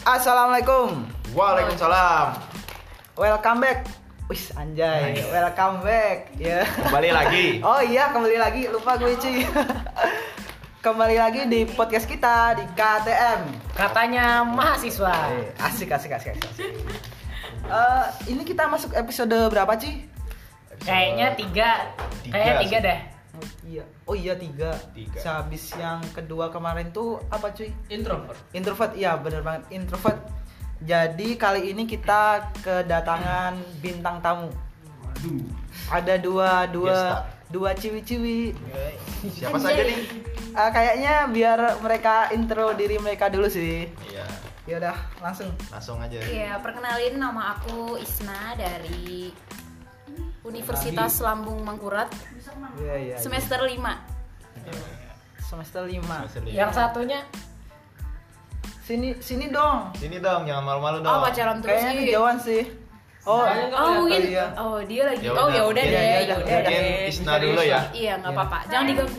Assalamualaikum. Waalaikumsalam. Welcome back. Wis anjay, Nice. welcome back. Ya. Kembali lagi. Oh iya, kembali lagi lupa gue cuy. kembali lagi di podcast kita di KTM. Katanya mahasiswa. Asik asik asik asik. asik. Eh, ini kita masuk episode berapa sih? Kayaknya Eh, tiga. Tiga Kayaknya tiga sih. deh. Oh, iya, oh iya tiga. Tiga. Sehabis yang kedua kemarin tuh apa cuy? Introvert. Introvert, iya bener banget introvert. Jadi kali ini kita kedatangan bintang tamu. Ada dua dua Yes, Pak. dua ciwi-ciwi. Siapa saja nih? Ah, kayaknya biar mereka intro diri mereka dulu sih. Iya, Ya udah langsung. langsung aja. Iya, perkenalin nama aku Isna dari Universitas Lambung Mangkurat Iya iya. iya. semester 5. Semester 5. Masih Yang satunya Sini sini dong. Sini dong, jangan malu-malu dong. Ya Oh, pacaran terus Kayaknya nih. nih jauhan sih. Oh, Oh, mungkin. Iya. Oh, dia lagi. Yaudah, oh, ya udah mungkin- deh. Iya, ya yaudah, udah Mungkin deh. Isna dulu ya. Iya, nggak Iya. apa-apa. Jangan diganggu.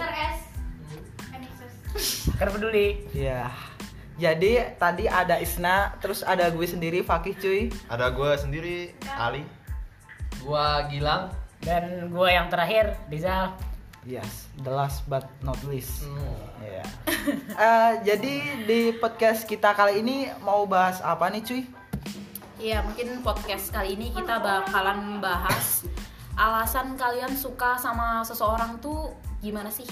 karena peduli. Iya. Jadi tadi ada Isna, terus ada gue sendiri Fakih cuy. Ada gue sendiri, Ali. gua Gilang Dan gua yang terakhir, Rizal. Yes, the last but not least. Iya. Eh, jadi di podcast kita kali ini mau bahas apa nih cuy? Iya, mungkin podcast kali ini kita bakalan bahas alasan kalian suka sama seseorang tuh gimana sih?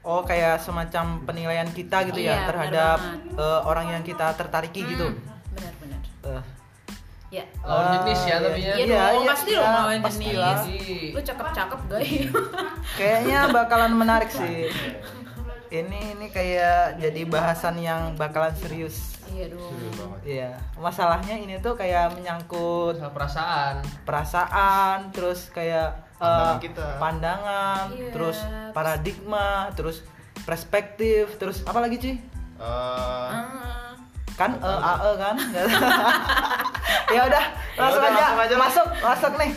Oh kayak semacam penilaian kita gitu ya Iya, benar terhadap banget. Hmm. eh, orang yang kita tertariki gitu. Benar-benar. Eh, Ya. eh, lawan jenis ya iya. tapinya Iya dong, pasti dong lawan jenis. pastilah. Ih, Lu cakep-cakep, guys. Kayaknya bakalan menarik sih. Ini ini kayak jadi bahasan yang bakalan serius. iya dong. Iya, masalahnya ini tuh kayak menyangkut masalah perasaan perasaan, terus kayak eh, Pandangan kita. pandangan, Iya, terus terus- paradigma, terus perspektif, terus apa lagi cuy? Eh, Ah. Kan eh, AE kan? ya udah, Ya langsung udah, aja. langsung aja lah. Masuk, masuk nih.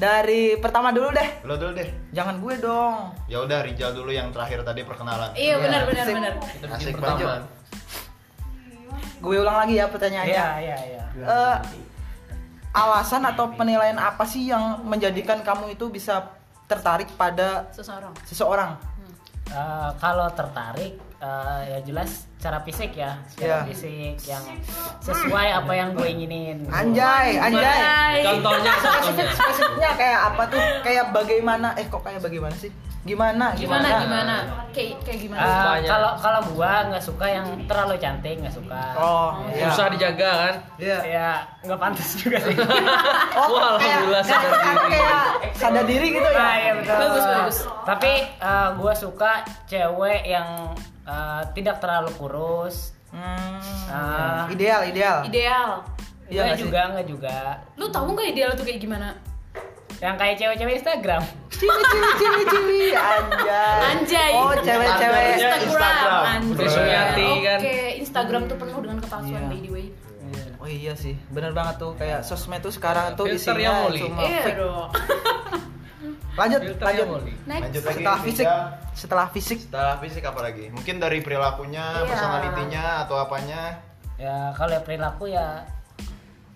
Dari pertama dulu deh. lo dulu deh. Jangan gue dong. Ya udah, Rijal dulu yang terakhir tadi perkenalan. Iya, benar benar Sip. benar. kita Asik bikin pertama banget. Gue ulang lagi ya pertanyaannya. Iya, iya, iya. Eh, alasan atau penilaian apa sih yang menjadikan kamu itu bisa tertarik pada Seseorang. seseorang? Eh, kalau tertarik eh, ya jelas cara fisik Iya. ya, secara fisik yang sesuai apa yang gue inginin. Anjay, anjay. contohnya contohnya spesifiknya kayak apa tuh kayak bagaimana eh kok kayak bagaimana sih gimana gimana, Gimana gimana? Kayak kayak gimana? Eh, Sukanya. kalau kalau gua nggak suka yang terlalu cantik, nggak suka. oh iya susah dijaga kan Iya. Ya nggak pantas juga sih. oh Wah, alhamdulillah kayak, sadar kayak, diri. kayak sadar diri gitu ya Ah, iya, betul. Bagus, bagus. Tapi gue suka cewek yang eh, tidak terlalu kurus. Hmm, Ah. ideal ideal Ideal. Iya Iya nggak sih? juga, nggak juga. Lu tahu nggak ideal tuh kayak gimana? Yang kayak cewek-cewek Instagram. ciwi ciwi ciwi ciwi anjay Anjay. oh cewek-cewek Harusnya Instagram. Anjay. Udah suyati, kan? Oke, Instagram tuh penuh dengan kepalsuan Iya. by the way. oh iya sih bener banget tuh kayak sosmed tuh sekarang tuh Filter yang isinya muli. cuma Iya fake. dong. lanjut filternya lanjut ya, moli Next. Lanjut lagi. setelah fisik Rijal. setelah fisik Setelah fisik apa lagi? Mungkin dari perilakunya, Iya. personalitinya, atau apanya. Ya kalau yang perilaku ya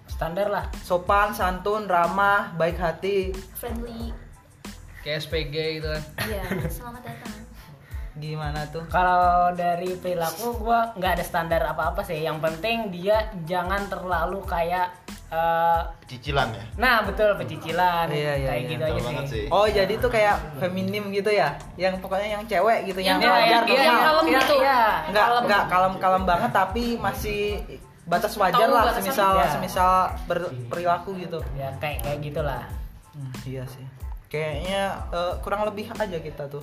standar lah. sopan santun ramah baik hati Friendly. kayak SPG gitu kan Iya, selamat datang. gimana tuh Kalau dari perilaku gua nggak ada standar apa-apa sih. Yang penting dia jangan terlalu kayak eh, Cicilan ya. nah betul pecicilan Iya, iya, kayak iya. gitu Betul aja banget sih. sih. Oh jadi tuh kayak feminim gitu ya, yang pokoknya yang cewek gitu, yang Yang wajar yang- yang normal. kalem gitu. nggak kalem. nggak kalem kalem banget tapi masih batas wajar Tahu lah, batasan. semisal Ya. semisal berperilaku gitu. Ya kayak kayak gitulah. Hmm, iya sih, kayaknya eh, kurang lebih aja kita tuh.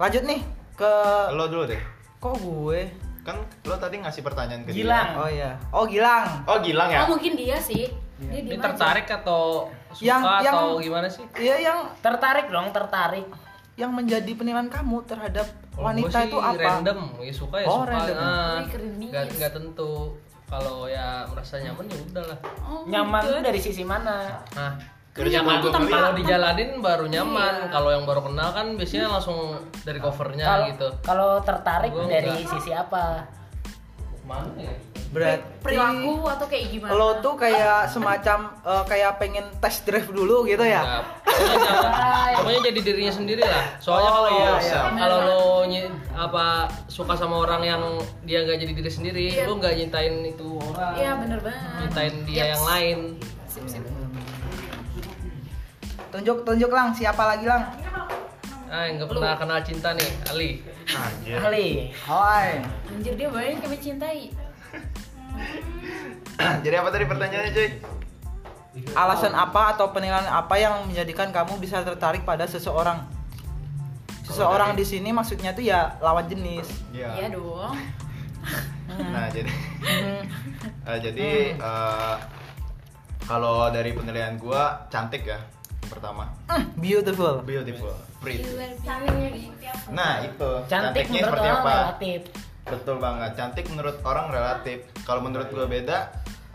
Lanjut nih ke Lo dulu deh. kok gue? Kan lo tadi ngasih pertanyaan ke Gilang. Oh iya, oh Gilang. dia. Oh, Gilang ya? Oh, mungkin dia sih. Dia ini di mana? tertarik atau suka Yang- yang- atau gimana sih Iya yang Tertarik dong, tertarik. yang menjadi penilaian kamu terhadap Kalau wanita Oh, gua sih itu apa? random ya suka ya Oh, suka random. Ah, Wih, keren nih. nggak nggak tentu kalau ya merasa nyaman ya udahlah Oh, Nyaman tuh dari sisi mana? nah Dari situ Nyaman tuh gua tanpa- ngeliat. kalau dijalanin baru nyaman Iya. kalau yang baru kenal kan biasanya langsung dari covernya Kalau gitu kalau tertarik Gua dari enggak. sisi apa? mana ya Berarti perilaku atau kayak gimana lo tuh kayak semacam eh, kayak pengen test drive dulu gitu ya Nah, pokoknya jangan- pokoknya jadi dirinya sendiri lah. Soalnya Oh, kalau iya, iya. kalau lo nyi- apa suka sama orang yang dia nggak jadi diri sendiri, Iya. lo nggak nyintain itu orang, iya bener banget nyintain dia Yaps. yang lain. Sip, sip. tunjuk tunjuk lang siapa lagi lang Ah, nggak pernah kenal cinta nih, Ali. Anjir. ahli Hai anjir dia banyak yang mencintai Jadi apa tadi pertanyaannya, cuy? alasan apa atau penilaian apa yang menjadikan kamu bisa tertarik pada seseorang seseorang di sini maksudnya tuh ya lawan jenis Ya. iya dong Nah, jadi Hmm, eh, jadi Hmm. eh, kalau dari penilaian gua cantik ya yang pertama. mm, beautiful Beautiful, You pretty. are beautiful. Nah, itu. cantik Cantiknya menurut seperti orang apa? relatif Betul banget. Cantik menurut orang relatif. Kalau menurut gua beda.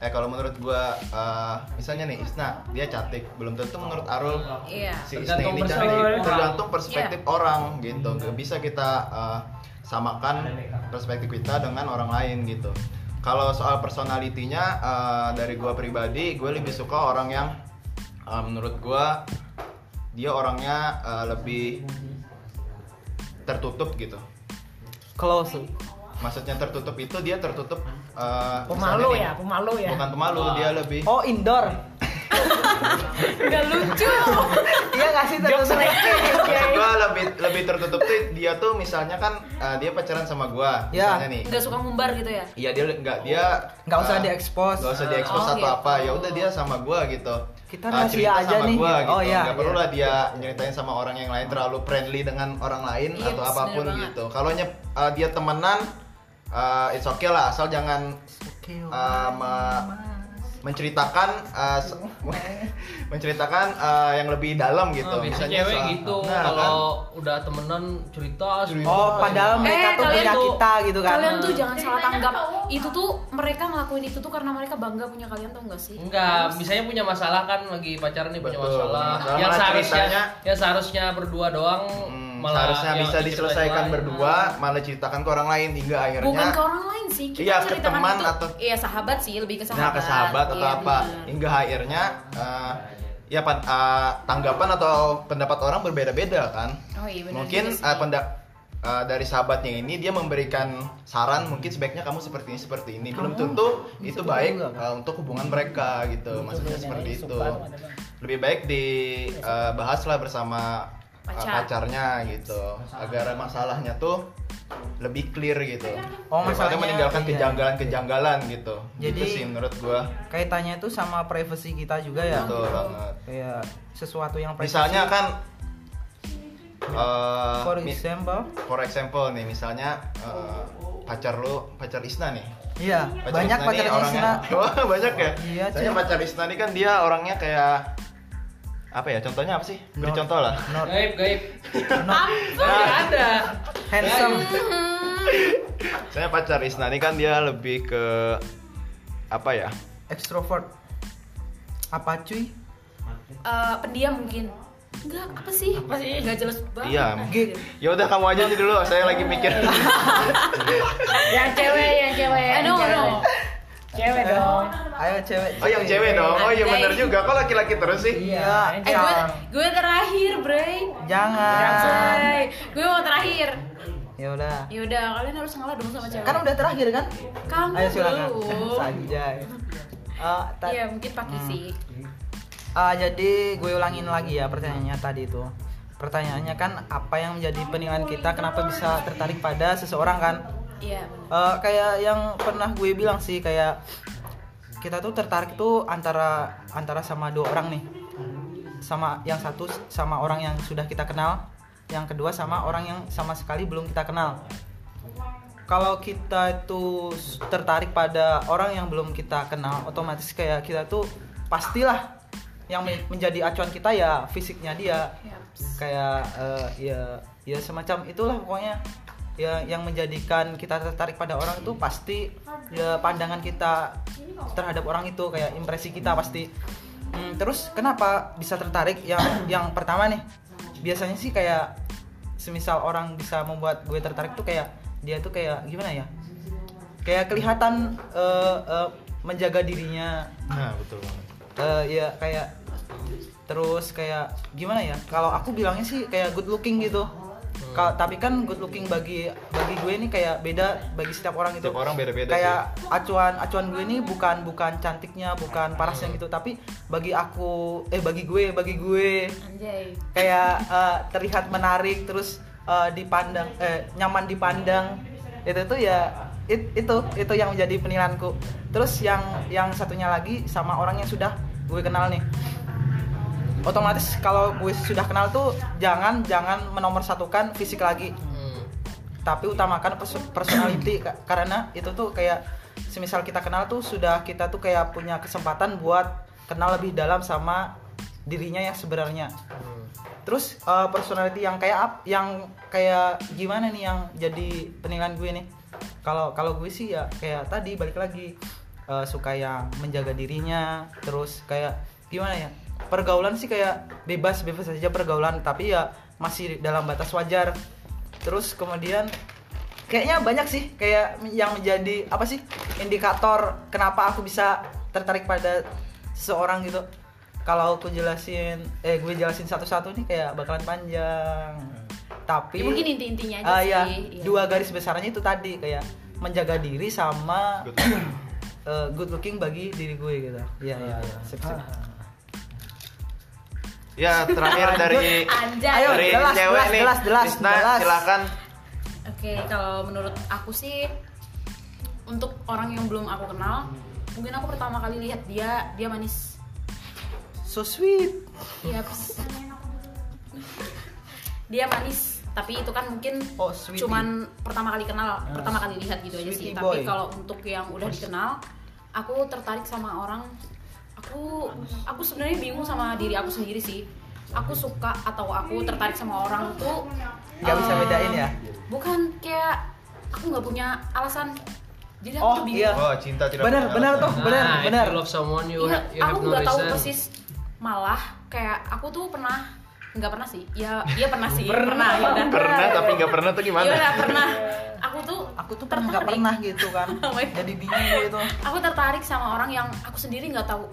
Eh kalau menurut gua eh, misalnya nih Isna, dia cantik. Belum tentu menurut Arul iya si Isna Tergantung ini perspektif cantik. orang. Tergantung perspektif orang gitu. Gak bisa kita eh, samakan perspektif kita dengan orang lain gitu. Kalau soal personalitinya eh, dari gua pribadi, gue lebih suka orang yang eh, menurut gua dia orangnya eh, lebih tertutup gitu close maksudnya tertutup itu dia tertutup eh, misalnya pemalu ya nih, pemalu ya bukan pemalu dia lebih oh indoor nggak lucu iya nggak sih tertutup Maksud gua lebih lebih tertutup tuh dia tuh misalnya kan eh, dia pacaran sama gua Ya. misalnya nih nggak suka ngumbar gitu ya Iya dia nggak dia nggak usah eh, diekspos nggak usah diekspos Oh, atau gitu. apa ya udah dia sama gua gitu Kita Eh, rahasia cerita aja sama nih. gua gitu Oh, iya, nggak iya. perlu lah dia nyeritain sama orang yang lain terlalu friendly dengan orang lain Iya, atau bener apapun banget. gitu kalau nyep- eh, dia temenan eh, it's okay lah asal jangan eh, me- menceritakan eh, se- menceritakan eh, yang lebih dalam gitu Nah, Misalnya biasanya cewek soal- gitu. Nah, kalau kan? udah temenan cerita, Cerita. oh padahal Eh, mereka tuh kalian punya tuh- kita gitu kan kalian tuh jangan salah tanggap itu tuh mereka ngelakuin itu tuh karena mereka bangga punya kalian tau nggak sih Enggak, misalnya punya masalah kan lagi pacaran nih punya Betul, masalah. punya masalah, Yang malah seharusnya ceritanya- yang seharusnya berdua doang Hmm, malah seharusnya yang bisa diceritain diselesaikan lain. berdua malah ceritakan ke orang lain hingga akhirnya bukan ke orang lain sih kita Iya, ke ceritakan teman itu atau- iya sahabat sih lebih ke nah sahabat ke sahabat atau Iya, apa bener. hingga akhirnya eh, ya pan- eh, tanggapan atau pendapat orang berbeda-beda kan oh iya bener mungkin juga sih. eh, pendak- eh, dari sahabatnya ini dia memberikan saran mungkin sebaiknya kamu seperti ini seperti ini belum Oh, tentu itu baik juga, kan? eh, untuk hubungan mereka gitu maksudnya Itu seperti bedanya itu suka sama ada, Bang. lebih baik dibahaslah bersama eh, Pacar. pacarnya gitu agar masalahnya tuh lebih clear gitu Oh, daripada masalahnya- meninggalkan iya. kejanggalan-kejanggalan gitu Jadi- itu sih menurut gua kaitannya tuh sama privasi kita juga ya betul banget kayak sesuatu yang privasi misalnya kan eh, for mi- example for example nih misalnya eh, pacar lu pacar Isna nih iya banyak Isna nih pacarnya orangnya- Isna Wah, banyak ya Iya, Soalnya cuy. pacar Isna nih kan dia orangnya kayak apa ya contohnya apa sih beri Nor- contoh lah not Gaib, gaib. not Enggak ada. handsome Saya pacar Isna ini kan dia lebih ke apa ya? extrovert apa cuy Eh, pendiam mungkin enggak apa sih apa sih nggak jelas banget Iya. Gig. Ya udah kamu aja sih dulu, saya lagi mikir. yang cewek yang cewek eh no no cewek dong ayo cewek Oh yang cewek dong. Oh iya bener Anjay. juga. Kok laki-laki terus sih? Iya. yang eh gue gue terakhir Bray jangan Say, gue mau terakhir ya udah yaudah kalian harus ngalah dong sama cewek kan udah terakhir kan kamu ayo silakan belum sanjay Eh, ta- iya mungkin pakai Hmm. sih Ah, jadi gue ulangin lagi ya pertanyaannya tadi itu. Pertanyaannya kan apa yang menjadi penilaian kita kenapa bisa tertarik pada seseorang kan? iya bener. Eh, kayak yang pernah gue bilang sih kayak kita tuh tertarik tuh antara antara sama dua orang nih. Sama yang satu s- sama orang yang sudah kita kenal, yang kedua sama orang yang sama sekali belum kita kenal. Kalau kita itu s- tertarik pada orang yang belum kita kenal, otomatis kayak kita tuh pastilah yang men- menjadi acuan kita ya fisiknya dia Yaps. kayak eh, ya ya semacam itulah pokoknya ya yang menjadikan kita tertarik pada orang itu pasti ya pandangan kita terhadap orang itu kayak impresi kita pasti Hmm, terus kenapa bisa tertarik yang yang pertama nih biasanya sih kayak semisal orang bisa membuat gue tertarik tuh kayak dia tuh kayak gimana ya kayak kelihatan eh, eh, menjaga dirinya Nah, betul banget. Eh, ya kayak terus kayak gimana ya kalau aku bilangnya sih kayak good looking gitu Hmm. Ka- tapi kan good looking bagi bagi gue ini kayak beda bagi setiap orang itu Setiap orang beda-beda kayak acuan acuan gue ini bukan bukan cantiknya bukan parasnya Hmm. gitu tapi bagi aku eh bagi gue bagi gue Anjay. kayak eh, terlihat menarik terus eh, dipandang eh, nyaman dipandang itu tuh ya it- itu itu yang menjadi penilaianku terus yang yang satunya lagi sama orang yang sudah gue kenal nih otomatis kalau gue sudah kenal tuh jangan jangan menomorsatukan fisik lagi Hmm. tapi utamakan perso- personality Ka- karena itu tuh kayak semisal kita kenal tuh sudah kita tuh kayak punya kesempatan buat kenal lebih dalam sama dirinya yang sebenarnya Hmm. terus uh, personality yang kayak ap- yang kayak gimana nih yang jadi penilaian gue nih kalau kalau gue sih ya kayak tadi balik lagi uh, suka yang menjaga dirinya terus kayak gimana ya pergaulan sih kayak bebas bebas aja pergaulan tapi ya masih dalam batas wajar terus kemudian kayaknya banyak sih kayak yang menjadi apa sih indikator kenapa aku bisa tertarik pada seseorang gitu kalau aku jelasin eh gue jelasin satu-satu nih kayak bakalan panjang tapi Ya, mungkin inti-intinya aja Iya. ah, sih. ya, Iya. dua garis besarnya itu tadi kayak menjaga diri sama Good. eh, good looking bagi diri gue gitu ya ya, ya. Sip, sip. Ya, terakhir dari Anjay. Ayo, dari jelas, cewek jelas, nih. jelas, jelas, Tisna, jelas. silakan. Oke, kalau menurut aku sih untuk orang yang belum aku kenal, mungkin aku pertama kali lihat dia dia manis. so sweet Iya. pes. dia manis, tapi itu kan mungkin oh sweet cuman pertama kali kenal, pertama kali lihat gitu aja sih. Sweetie Tapi boy. kalau untuk yang udah dikenal, aku tertarik sama orang. Aku aku sebenarnya bingung sama diri aku sendiri sih. Aku suka atau aku tertarik sama orang tuh Nggak bisa eh, bedain ya? Bukan kayak aku nggak punya alasan. Jadi aku Oh, tuh iya. bingung. Oh, cinta tidak Benar, punya benar alasan. tuh. Benar, Nah, if benar. you love someone you, Oh, Iya, ha- you have aku no nggak tahu reason. persis. Malah kayak aku tuh pernah nggak pernah sih. Ya, iya pernah sih. pernah, ya udah. Pernah tapi nggak pernah tuh gimana? Ya Iya. udah, pernah. Aku tuh aku tuh pernah nggak pernah gitu kan Oh my God. jadi bingung gitu. gue itu aku tertarik sama orang yang aku sendiri nggak tahu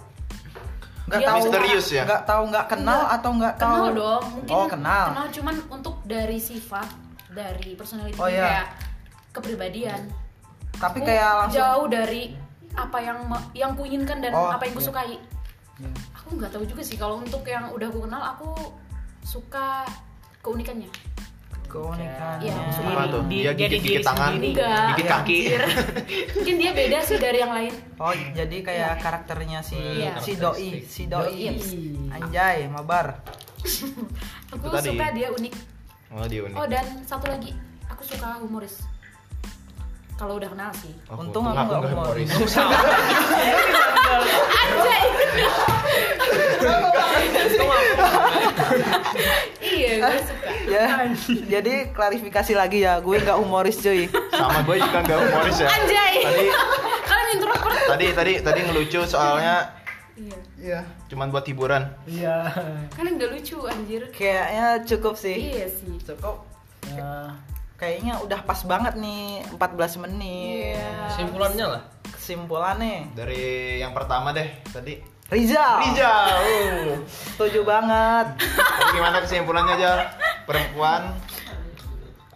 nggak Dia tahu misterius ya? nggak tahu nggak kenal Iya, Nggak. atau nggak tahu kenal dong mungkin oh kenal cuman untuk dari sifat dari personality Oh, dia, iya. kayak kepribadian tapi Aku kayak langsung jauh dari apa yang me- yang kuinginkan dan Oh, apa yang iya. kusukai aku nggak tahu juga sih kalau untuk yang udah aku kenal aku suka keunikannya keunikannya Iya, langsung Apa tuh? Di- Dia jadi gigit-gigit diri tangan, sendiri. Enggak. Iya, gigit kaki. mungkin dia beda sih dari yang lain oh jadi kayak karakternya si Iya. si doi si Doi, Iya. doi Ih. anjay mabar aku Itu tadi. suka dia unik Oh, dia unik. oh dan satu lagi aku suka humoris kalau udah kenal sih Aku Untung tuh aku nggak humoris. iya gue suka ya jadi klarifikasi lagi ya gue nggak humoris cuy Sama gue juga nggak humoris ya. Anjay. Tadi kalian introvert tadi tadi tadi ngelucu soalnya iya Iya. cuman buat hiburan. Iya. kalian nggak lucu anjir kayaknya cukup sih iya sih cukup Ya. Iya. kayaknya udah pas banget nih 14 menit iya Kesimpulannya lah. kesimpulannya Dari yang pertama deh tadi. Rizal Rijal. setuju banget Jadi gimana kesimpulannya aja perempuan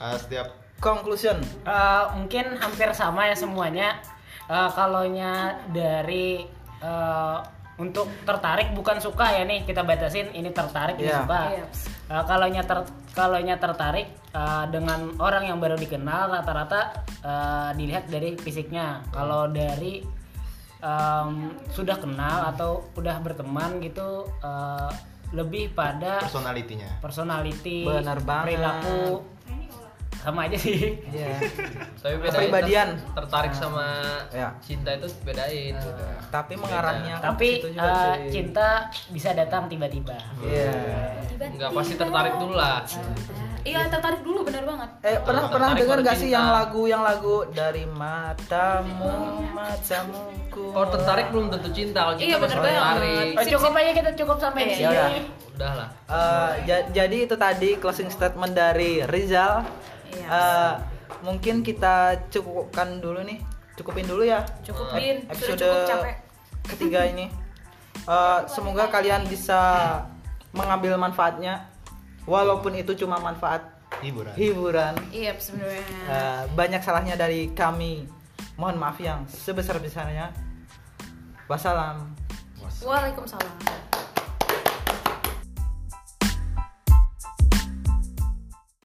eh, setiap conclusion Eh, mungkin hampir sama ya semuanya. Eh, kalaunya dari eh, untuk tertarik bukan suka ya nih kita batasin ini tertarik ini Iya. suka. Iya. Eh, kalaunya ter kalaunya tertarik eh, dengan orang yang baru dikenal rata-rata eh, dilihat dari fisiknya. Kalau dari em, sudah kenal atau udah berteman gitu eh, lebih pada personalitinya. personality, Benar banget. perilaku sama aja sih. Iya. Tapi bedain Kepribadian. ter- tertarik sama Ya. cinta itu bedain. tapi mengarahnya kan ke Tapi situ juga, eh, cuy. cinta bisa datang tiba-tiba. Iya. Enggak pasti tertarik dulu lah. iya tertarik dulu bener banget Eh pernah Tertarik pernah dengar baru gak sih cinta. yang lagu yang lagu dari matamu matamu ku. Kalau tertarik belum tentu cinta, kalau cinta Iya, masih bener banget. Iya, tertarik. Oh, cukup aja kita cukup sampai di Ya udah. sini. Udah lah. Eh, ja- jadi itu tadi closing statement dari Rizal. Iya. Eh, Eh, mungkin kita cukupkan dulu nih cukupin dulu ya Cukupin, Ep- sudah episode cukup capek. ketiga ini. Eh, semoga kalian bisa mengambil manfaatnya, walaupun itu cuma manfaat hiburan hiburan. Iya, sebenarnya. Eh, banyak salahnya dari kami. Mohon maaf yang sebesar besarnya. Wassalam. Was. Waalaikumsalam.